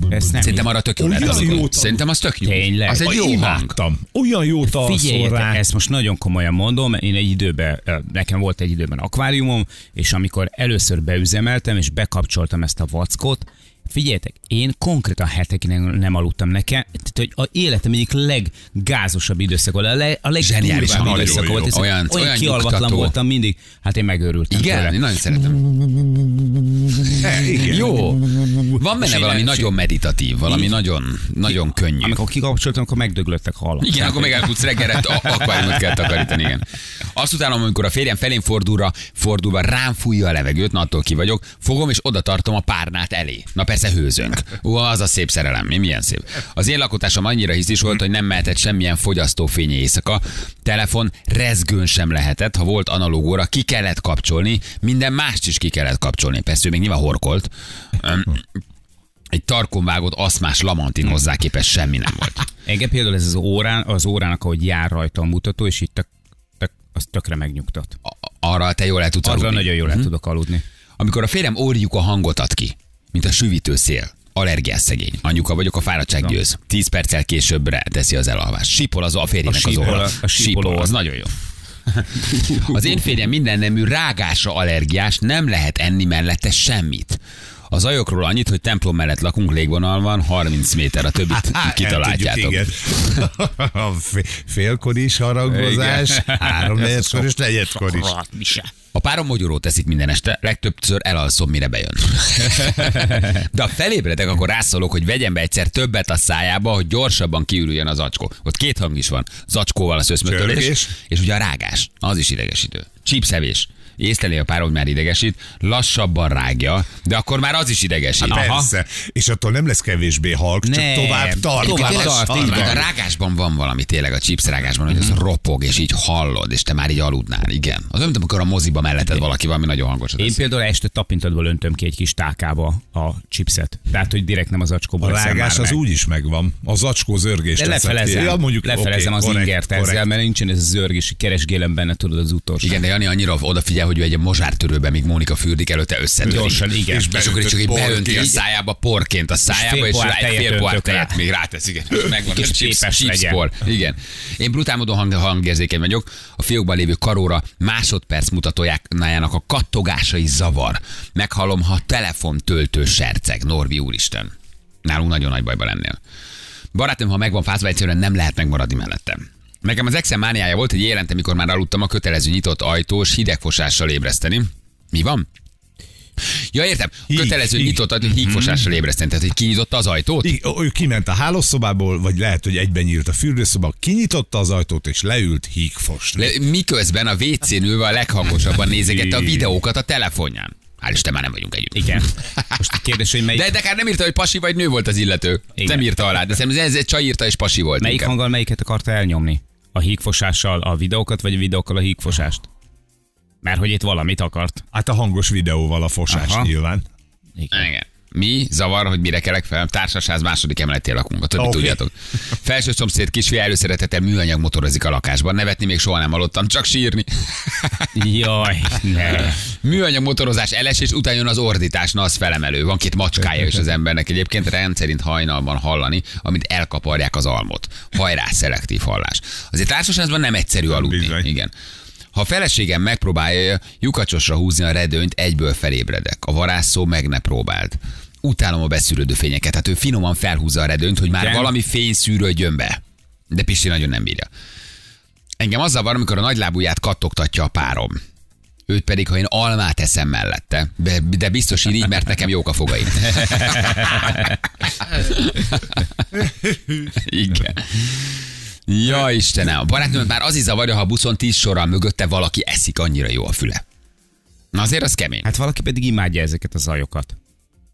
S2: Ezt nem
S4: Szerintem arra tök jó
S3: Olyan
S4: lehet aludni.
S3: jó tavam.
S4: Szerintem az tök jó.
S2: Tényleg.
S4: Az egy
S3: Jó
S4: jó hang.
S3: imádtam. Olyan jót alszol
S2: Hát Figyeljetek,
S3: rá.
S2: ezt most nagyon komolyan mondom, én egy időben, ö, nekem volt egy időben akváriumom, és amikor először beüzemeltem, és bekapcsoltam ezt a vackot, Figyeljetek, én konkrétan hetekig nem, nem aludtam nekem, tehát hogy a életem egyik leggázosabb időszak volt, a, leg, a
S4: Zseniálisan
S2: legdurvább
S4: nagyon
S2: időszak
S4: jó.
S2: volt, és
S4: Olyan-
S2: olyan,
S4: olyan
S2: olyan kialvatlan
S4: nyugtató.
S2: voltam mindig, hát én megőrültem.
S4: Igen, én
S2: tőle.
S4: nagyon szeretem.
S3: Igen.
S4: Jó. Van benne valami nagyon meditatív, valami nagyon, nagyon könnyű.
S2: Amikor kikapcsoltam, akkor megdöglöttek halak.
S4: Igen, akkor meg elfutsz reggelre, a- akváriumot kell takarítani, igen. Azt utána, amikor a férjem felén fordulra, fordulva rám fújja a levegőt, na attól ki vagyok, fogom és oda tartom a párnát elé. Na persze hőzünk. Ó, az a szép szerelem, mi milyen szép. Az én lakotásom annyira hisztis volt, hogy nem mehetett semmilyen fogyasztófény éjszaka, telefon rezgőn sem lehetett, ha volt analóg óra, ki kellett kapcsolni, minden mást is ki kellett kapcsolni. Persze ő még nyilván horkolt. Öm, Egy tarkon vágott aszmás lamantin hozzá képest semmi nem volt.
S2: Engem például ez az órán, az órának, ahogy jár rajta a mutató, és itt tök, tök, az tökre megnyugtat.
S4: A- arra te jól el tudsz
S2: Arra
S4: aludni. Mhm.
S2: nagyon jól el tudok aludni.
S4: Amikor a férjem orjuk a hangot ad ki, mint a süvítő szél, allergiás szegény. Anyuka vagyok, a fáradtság győz. Tíz perccel későbbre teszi az elalvást. Sipol az a férjének
S2: A
S4: az
S2: sípol-
S4: orra.
S2: a sípoló.
S4: Sípol, az nagyon jó. Az én férjem minden nemű rágásra allergiás, nem lehet enni mellette semmit. Az ajokról annyit, hogy templom mellett lakunk, légvonal van, 30 méter, a
S2: Hát,
S4: többit kitaláljátok.
S3: igen. A fé- félkor is harangozás,
S4: Igen.
S3: három negyedkor és negyedkor is.
S4: A párom mogyorót teszik minden este, legtöbbször elalszom, mire bejön. De ha felébredek, akkor rászólok, hogy vegyem be egyszer többet a szájába, hogy gyorsabban kiürüljön az acskó. Ott két hang is van. Zacskóval a szöszmötölés,
S3: Csörgés.
S4: és ugye a rágás, az is idegesítő. Csípszevés. Észleli a pár, hogy már idegesít, lassabban rágja, de akkor már az is idegesít.
S3: Hát Persze. És attól nem lesz kevésbé halk, csak
S2: Nem.
S3: tovább tart.
S2: Tovább
S3: Tényleg
S2: tart,
S3: hát az Mhm.
S2: így
S4: Meg
S3: van.
S4: a rágásban van valami, tényleg a chips rágásban, hogy az ropog, és így hallod, és te már így aludnál. Igen. Az olyan, mint amikor a moziba melletted valaki valami nagyon hangos. hát
S2: Én például este tapintatból öntöm ki egy kis tálkába a chipset. Tehát, hogy direkt nem az acskóból
S3: A
S2: eszem
S3: rágás
S2: már
S3: az
S2: meg.
S3: úgy is megvan. Az acskó zörgés.
S2: De
S3: teszed ki.
S2: lefelezem,
S3: Ja, mondjuk,
S2: lefelezem
S3: oké,
S2: az
S3: korrekt,
S2: ingert
S3: korrekt.
S2: ezzel, mert nincsen ez a zörgés, hogy keresgélem benne, tudod, az utolsó.
S4: Igen, de Jani annyira odafigyel, hogy ő egy mozsártörőben, míg Mónika fürdik előtte összedőlik.
S2: Gyorsan, igen.
S4: És, és akkor
S3: beütött
S4: csak így beönti a
S3: porként.
S4: szájába porként a szájába,
S2: fél
S4: és
S2: pohár
S4: rá egy
S2: tejet
S4: fél pohár
S2: öntök rá.
S4: tejet még rátesz, igen. És megvan
S2: Kis
S4: a chips,
S2: képes legyen.
S4: chipspor. Igen. Én brutál módon hang, hangérzékeny vagyok. A fiókban lévő karóra másodperc mutatójának a kattogásai zavar. Meghallom, ha telefon töltő serceg. Norvi úristen. Nálunk nagyon nagy bajba lennél. Barátom, ha megvan fázva, egyszerűen nem lehet megmaradni mellettem. Nekem az exem mániája volt, hogy jelente, mikor már aludtam, a kötelező nyitott ajtós hidegfosással ébreszteni. Mi van? Ja, értem.
S3: Híg,
S4: Kötelező
S3: híg.
S4: nyitott ajtó, hígfosással
S2: Mhm.
S4: ébreszteni. Tehát, hogy kinyitotta az ajtót?
S3: I- ő kiment a hálószobából, vagy lehet, hogy egyben nyílt a fürdőszoba, kinyitotta az ajtót, és leült hígfosni.
S4: Le, miközben a WC-n ülve a leghangosabban nézegette a videókat a telefonján. Hál' Isten, már nem vagyunk együtt.
S2: Igen. Most a kérdés, hogy melyik,
S4: De, de akár nem írta, hogy pasi vagy nő volt az illető. Igen.
S2: Igen.
S4: Nem írta alá, de szerintem ez, ez csaj írta és pasi volt.
S2: melyik
S4: inkább.
S2: hanggal melyiket akarta elnyomni? A hígfosással a videókat, vagy a videókkal a hígfosást? Mert hogy itt valamit akart.
S3: Hát a hangos videóval a fosás
S2: Aha.
S3: nyilván.
S4: Igen. Mi zavar, hogy mire kelek fel? Társasház második emeletén lakunk, a többit
S3: Oké.
S4: okay. tudjátok. Felső szomszéd kisfia előszeretettel műanyag motorozik a lakásban. Nevetni még soha nem hallottam, csak sírni.
S2: Jaj, ne.
S4: műanyag motorozás eles, és utána jön az ordítás, na az felemelő. Van két macskája is az embernek egyébként rendszerint hajnalban hallani, amit elkaparják az almot. Hajrá, szelektív hallás. Azért társasházban nem egyszerű aludni.
S3: Bizony.
S4: Igen. Ha a feleségem megpróbálja lyukacsosra húzni a redőnyt, egyből felébredek. A varázsszó meg ne próbáld. Utálom a beszűrődő fényeket, tehát ő finoman felhúzza a redőnyt, hogy már
S2: Igen.
S4: valami fény szűrődjön be. De Pisti nagyon nem bírja. Engem az zavar, amikor a nagylábúját kattogtatja a párom. Őt pedig, ha én almát eszem mellette, de, de biztos így, mert nekem jók a fogaim. Igen. Ja, Istenem, a barátnőmet már az is zavarja, ha a buszon tíz sorral mögötte valaki eszik, annyira jó a füle. Na azért az kemény.
S2: Hát valaki pedig imádja ezeket a zajokat.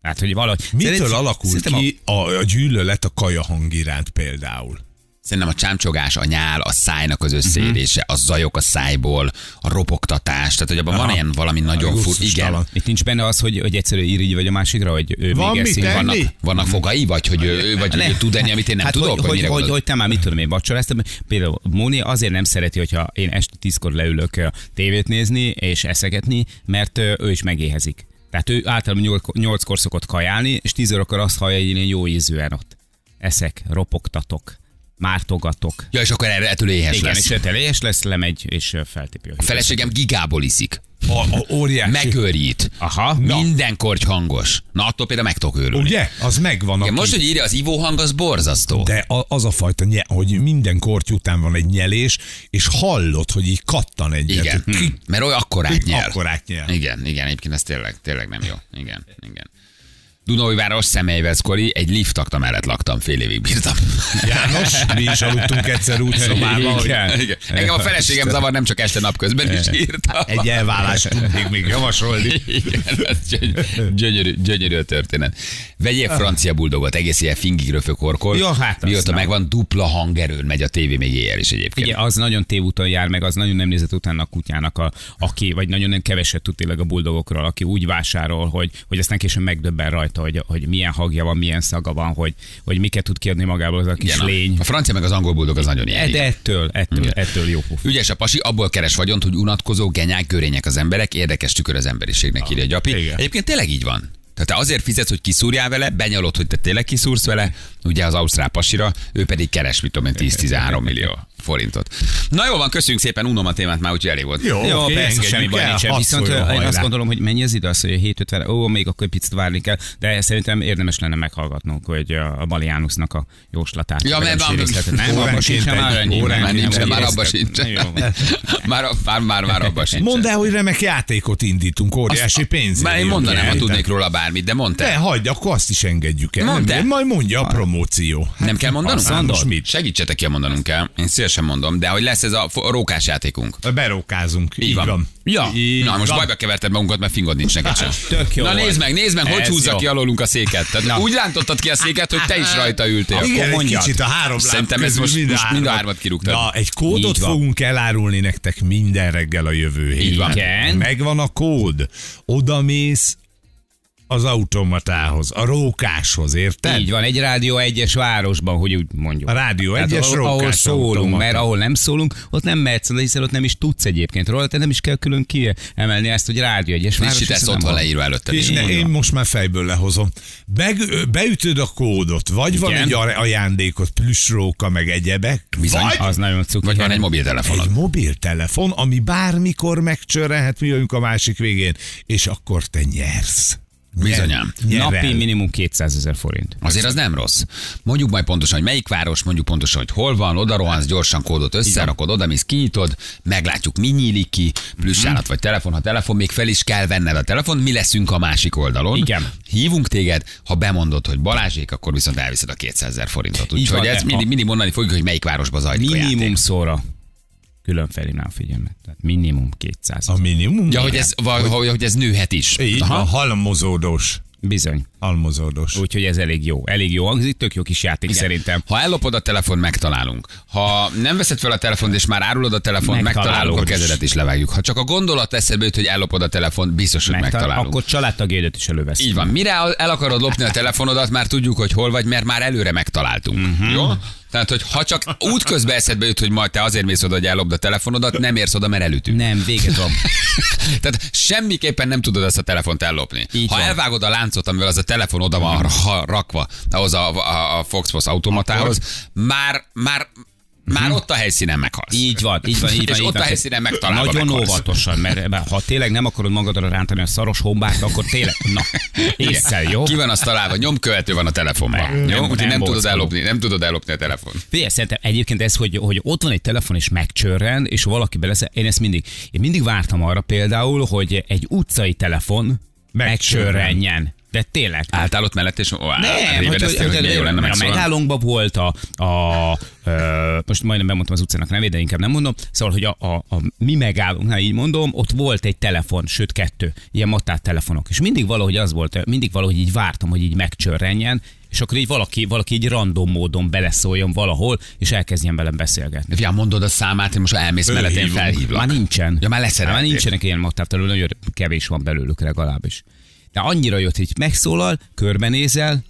S2: Hát, hogy valahogy...
S3: Mitől
S2: Szerintem-
S3: alakul
S2: szerintem
S3: ki a, a gyűlölet a kaja hang iránt például?
S4: Szerintem a csámcsogás, a nyál, a szájnak az összeérése, a zajok a szájból, a ropogtatás, tehát hogy abban van ilyen valami nagyon fur. Igen.
S3: gusztustalan.
S2: Itt nincs benne az, hogy, hogy egyszerű irigy vagy a másikra, hogy ő
S3: Van
S2: még
S3: mit
S2: eszik.
S3: enni?
S2: Vannak-
S4: Vannak, vannak fogai, vagy hogy ő, ő- vagy hogy ő tud enni, amit én nem
S2: Mhm. hát
S4: tudok?
S2: Hogy,
S4: vagy
S2: hogy,
S4: mire
S2: hogy,
S4: gondolsz?
S2: hogy, te már mit tudom én vacsoráztam. Például Móni azért nem szereti, hogyha én este tízkor leülök ö, tévét nézni és eszegetni, mert ö, ő is megéhezik. Tehát ő általában nyolc- nyolckor szokott kajálni, és tíz órakor azt hallja, hogy én jó ízűen ott. Eszek, ropogtatok, mártogatok.
S4: Ja, és akkor erre ettől éhes
S2: Igen,
S4: lesz.
S2: és teljes lesz, lemegy, és ö, feltépje.
S4: A feleségem gigából iszik.
S3: A, a óriási.
S4: Megőrít.
S2: Aha.
S4: Na. Minden korty hangos. Na, attól például meg tudok őrülni.
S3: Ugye? Az megvan.
S4: Igen,
S3: aki-
S4: most, hogy írja az ivó hang, az borzasztó.
S3: De a- az a fajta, nye, hogy minden korty után van egy nyelés, és hallod, hogy így kattan egyet.
S4: Igen,
S3: hogy
S4: hm.
S3: ki-
S4: mert olyan akkorát
S3: Ki
S4: nyel.
S3: akkorát nyel.
S4: Igen, igen, egyébként ez tényleg, tényleg nem jó. Igen, igen. Dunóiváros személyveszkori, egy liftakta mellett laktam, fél évig bírtam.
S3: János, mi is aludtunk egyszer úgy szobában, hogy
S4: Igen, igen. Engem a feleségem zavar, nem csak este napközben is írta.
S3: egy elvállást tudnék még javasolni.
S4: Igen, ez gyöny- gyönyörű, gyönyörű a történet. Vegyél
S3: Ah.
S4: francia buldogot, egész ilyen fingig röfök orkol.
S2: Ja, hát az
S4: Mióta
S2: nem.
S4: megvan, dupla hangerőn megy a tévé még éjjel is egyébként.
S2: Figyelj, az nagyon tévúton jár, meg az nagyon nem nézett utána a kutyának, a, aki, vagy nagyon nem keveset tud tényleg a buldogokról, aki úgy vásárol, hogy, hogy aztán később megdöbben rajta, hogy, hogy milyen hagja van, milyen szaga van, hogy, hogy miket tud kiadni magából az a kis
S4: Igen,
S2: Igen,
S4: a-
S2: lény.
S4: A francia meg az angol buldog az nagyon ilyen.
S2: Ed,
S4: igen.
S2: ettől, ettől, ettől jó puf.
S4: Ügyes a pasi, abból keres vagyont, hogy unatkozó, genyák, görények az emberek, érdekes tükör az emberiségnek, írja Gyapi.
S3: Ah, igen.
S4: Egyébként tényleg így van. Tehát te azért fizetsz, hogy kiszúrjál vele, benyalod, hogy te tényleg kiszúrsz vele, ugye az Ausztrál pasira, ő pedig keres, mit tudom én, 10-13 millió forintot. Na jó van, köszönjük szépen, unom a témát már, úgyhogy elég volt.
S3: Jó,
S2: Jó,
S3: oké,
S2: persze,
S3: engedjük
S2: semmi baj
S3: el,
S2: nincsen.
S3: hadd
S2: Viszont
S3: szóljon,
S2: én azt
S3: hajrá.
S2: gondolom, hogy mennyi az idő az, hogy 7.50, ó, még akkor egy picit várni kell, de szerintem érdemes lenne meghallgatnunk, hogy a Bali Jánosnak a jóslatát.
S4: Ja, mert
S2: legalábbis
S4: van-
S2: részletet. nem,
S3: óránként
S2: abban sincsen
S3: egy-
S2: már annyi.
S3: óránként
S4: Már nincs,
S3: egy
S4: már abba
S2: részlet.
S4: sincs.
S2: Jó van.
S4: Már, már, már, már abba sincs.
S3: Mondd el, hogy remek játékot indítunk, óriási pénzért.
S4: Már én
S3: jön
S4: mondanám,
S3: el.
S4: ha tudnék róla bármit, de mondd
S3: Ne,
S4: el.
S3: hagyd, akkor azt is engedjük el.
S4: Mondd
S3: Nem,
S4: el.
S3: Majd mondja a promóció. Hát,
S4: Nem kell mondanunk?
S3: azt mondod?
S4: mit? Segítsetek ki, ha mondanunk kell. Én szívesen mondom, de hogy lesz ez a, fo- a rókás játékunk.
S3: Berókázunk. Így van.
S4: Ja.
S3: Így
S4: Na, most
S3: van.
S4: bajba keverted magunkat, mert fingod nincs neked sem.
S2: Tök jó
S4: Na
S2: volt.
S4: nézd meg, nézd meg, hogy
S2: Ez
S4: húzza
S2: jó.
S4: ki alólunk a széket. Tehát úgy rántottad ki a széket, hogy te is rajta ültél.
S3: Igen, egy
S2: mondjad.
S3: kicsit a három láb
S4: Szerintem ez
S3: közül
S4: most,
S3: mind a
S4: most mind a
S3: hármat.
S4: hármat kirúgtad.
S3: Na, egy kódot
S4: Így van.
S3: fogunk elárulni nektek minden reggel a jövő
S4: Így van.
S3: héten.
S2: Igen.
S3: Megvan a kód. Oda mész az automatához, a rókáshoz, érted?
S2: Így van, egy rádió egyes városban, hogy úgy mondjuk.
S3: A Rádió
S2: Tehát
S3: egyes
S2: ahol, ahol
S3: rókás
S2: szólunk,
S3: automata.
S2: mert ahol nem szólunk, ott nem mehetsz, oda, hiszen ott nem is tudsz egyébként róla, te nem is kell külön kiemelni ezt, hogy rádió egyes város.
S4: És itt ez
S2: hiszen
S4: ott
S2: nem
S4: van leírva előtte.
S3: És ne, én most már fejből lehozom. Be, beütöd a kódot, vagy van
S2: Igen.
S3: egy aj- ajándékot, plüsróka, meg egyebek,
S4: Bizony.
S3: vagy
S2: Az nagyon cuki.
S4: Vagy van egy mobiltelefonod.
S3: egy mobiltelefon, ami bármikor megcsörrenhet, mi jövünk a másik végén, és akkor te nyersz. Nyer-
S4: Bizonyám.
S3: nyerel.
S2: Napi minimum 200 ezer forint.
S4: Azért az nem rossz. Mondjuk majd pontosan, hogy melyik város, mondjuk pontosan, hogy hol van, oda rohansz, gyorsan kódot összerakod, oda mész, kiítod, meglátjuk, mi nyílik ki,
S2: Mhm.
S4: plusz állat vagy telefon, ha telefon, még fel is kell venned a telefon, mi leszünk a másik oldalon.
S2: Igen.
S4: Hívunk téged, ha bemondod, hogy Balázsék, akkor viszont elviszed a 200 ezer forintot.
S2: Így
S4: Úgyhogy
S2: van,
S4: ezt
S2: de
S4: mindig,
S2: a-
S4: mindig mondani fogjuk, hogy melyik városba zajlik a
S2: Minimum
S4: játék.
S2: szóra. Külön felhívnám a figyelmet. Tehát minimum 200.
S3: A minimum.
S4: Ja, hogy ez, vagy, hogy... hogy ez nőhet is.
S3: Így
S4: Aha.
S3: van, halmozódós.
S2: Bizony.
S3: Halmozódós.
S2: Úgyhogy ez elég jó. Elég jó hangzik, tök jó kis játék Igen. szerintem.
S4: Ha ellopod a telefon, megtalálunk. Ha nem veszed fel a telefont, és már árulod a telefont, megtalálunk,
S2: Megtalálunk.
S4: a kezedet is levágjuk. Ha csak a gondolat eszedbe jut, hogy ellopod a telefon, biztos, hogy
S2: Megtal-
S4: megtalálunk.
S2: Akkor családtagédet is elővesz.
S4: Így van. Mire el akarod lopni a telefonodat, már tudjuk, hogy hol vagy, mert már előre megtaláltunk. Uh-huh. Jó? Tehát, hogy ha csak útközben eszedbe jut, hogy majd te azért mész oda, hogy ellopd a telefonodat, nem érsz oda, mert elütünk.
S2: Nem, vége van.
S4: Tehát semmiképpen nem tudod ezt a telefont ellopni.
S2: Így
S4: ha
S2: van. Mm.
S4: elvágod a láncot, amivel az a telefon oda van ra- rakva, ahhoz a, a, a Foxbox automatához, már, már, már ott a helyszínen meghalsz.
S2: Mhm. Így van, így van, így van.
S4: És
S2: így
S4: ott
S2: van.
S4: a helyszínen megtalálva
S2: Nagyon
S4: meghalsz.
S2: óvatosan, mert mert ha tényleg nem akarod magadra rántani a szaros hombát, akkor tényleg, na, észre, jó?
S4: Ki van azt találva? Nyomkövető van a telefonban.
S2: Nem,
S4: Jó?
S2: nem
S4: Úgyhogy nem, tudod
S2: borzol.
S4: ellopni, nem tudod ellopni a telefon.
S2: Figyelj, szerintem egyébként ez, hogy, hogy ott van egy telefon és megcsörren, és valaki belesz, én ezt mindig, én mindig vártam arra például, hogy egy utcai telefon
S3: Megcsörren.
S2: megcsörrenjen. De tényleg.
S4: Álltál ott mellett, és ó,
S2: Nem, hát, hogy, hogy,
S4: révedeztél, hogy,
S2: hogy,
S4: milyen jó lenne
S2: a
S4: megszólalni.
S2: megállónkban volt a, a ö, most majdnem bemondtam az utcának nevét, de inkább nem mondom, szóval, hogy a, a, a mi megállónknál így mondom, ott volt egy telefon, sőt kettő, ilyen matát telefonok, és mindig valahogy az volt, mindig valahogy így vártam, hogy így megcsörrenjen, és akkor így valaki, valaki így random módon beleszóljon valahol, és elkezdjen velem beszélgetni.
S4: De fiam, mondod a számát, én most ha elmész mellett, én
S3: Fölhívunk.
S4: felhívlak.
S2: Már nincsen.
S4: Ja, már leszerelték.
S2: Már nincsenek ilyen mattávtalul, nagyon kevés van belőlük legalábbis. De annyira jött, hogy megszólal, körbenézel,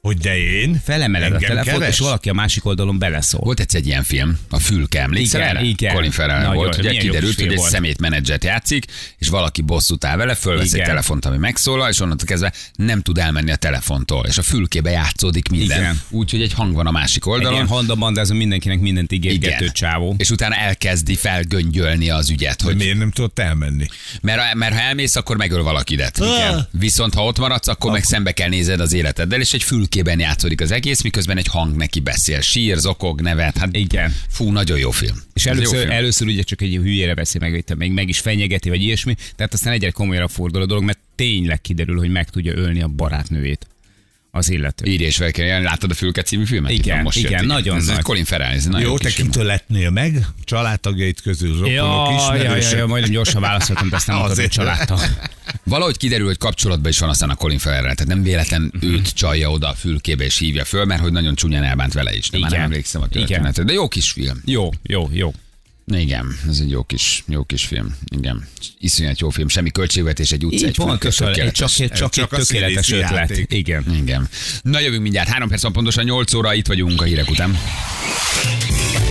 S3: Hogy de én?
S2: Felemeled
S3: Engem
S2: a telefont,
S3: keres?
S2: és valaki a másik oldalon beleszól.
S4: Volt egyszer egy ilyen film, a Fülke, emlékszel
S2: Igen,
S4: erre?
S2: igen.
S4: Colin Farrell
S2: Nagyon,
S4: volt, ugye
S2: milyen jó
S4: kiderült,
S2: film
S4: hogy egy
S2: volt.
S4: szemétmenedzsert játszik, és valaki bosszút áll vele, fölvesz egy
S2: Igen.
S4: telefont, ami megszólal, és onnantól kezdve nem tud elmenni a telefontól, és a fülkébe játszódik minden.
S2: Igen.
S4: Úgyhogy egy hang van a másik
S2: Egy ilyen
S4: oldalon.
S2: Honda Banda, ez mindenkinek mindent ígérgető
S4: Igen.
S2: csávó.
S4: És utána elkezdi felgöngyölni az ügyet,
S3: Hogy
S4: hogy
S3: miért nem tudott elmenni?
S4: mert, mert ha elmész, akkor megöl valakidet. Igen. Viszont ha ott maradsz, akkor, meg szembe kell nézed az életeddel, és egy fülkében játszódik az egész, miközben egy hang neki beszél. Sír, zokog, nevet. Hát
S2: Igen.
S4: Fú, nagyon jó film.
S2: És
S4: Ez jó
S2: először,
S4: film.
S2: először ugye csak egy hülyére veszi meg, hogy te még meg is fenyegeti, vagy ilyesmi, tehát aztán egyre komolyabb fordul a dolog, mert tényleg kiderül, hogy meg tudja ölni a barátnőjét az illető.
S4: Írj és fel kell jelenni. Láttad a Fülke című filmet?
S2: Igen,
S4: Itt van,
S2: igen,
S4: jött,
S2: nagyon
S4: Ez
S2: nagy.
S4: egy Colin Farrell, ez nagyon
S3: Jó,
S4: jó
S3: te
S4: kis film.
S3: kitől letnél meg? Családtagjait közül, rokonok,
S2: Ja, ja, ja,
S3: ismerősök.
S2: ja, majdnem gyorsan válaszoltam, de aztán mondtad, hogy
S3: Azért.
S2: családtag.
S4: Valahogy kiderül, hogy kapcsolatban is van aztán a Colin Farrell, tehát nem véletlen
S2: Mhm.
S4: őt csalja oda a fülkébe és hívja föl, mert hogy nagyon csúnyán elbánt vele is. De már nem
S2: Igen.
S4: emlékszem a
S2: Igen.
S4: történetre. De jó kis film.
S2: Jó, jó, jó.
S4: Igen, ez egy jó kis, jó kis film. Igen, iszonyat jó film, semmi költségvetés, egy utca,
S2: Így
S4: egy
S2: pontosan, egy csak, csak, csak egy
S3: Csak a
S2: tökéletes
S3: színészi
S2: ötlet.
S3: játék.
S2: Igen.
S4: Igen. Na jövünk mindjárt, három perc van pontosan, 8 óra, itt vagyunk a hírek után.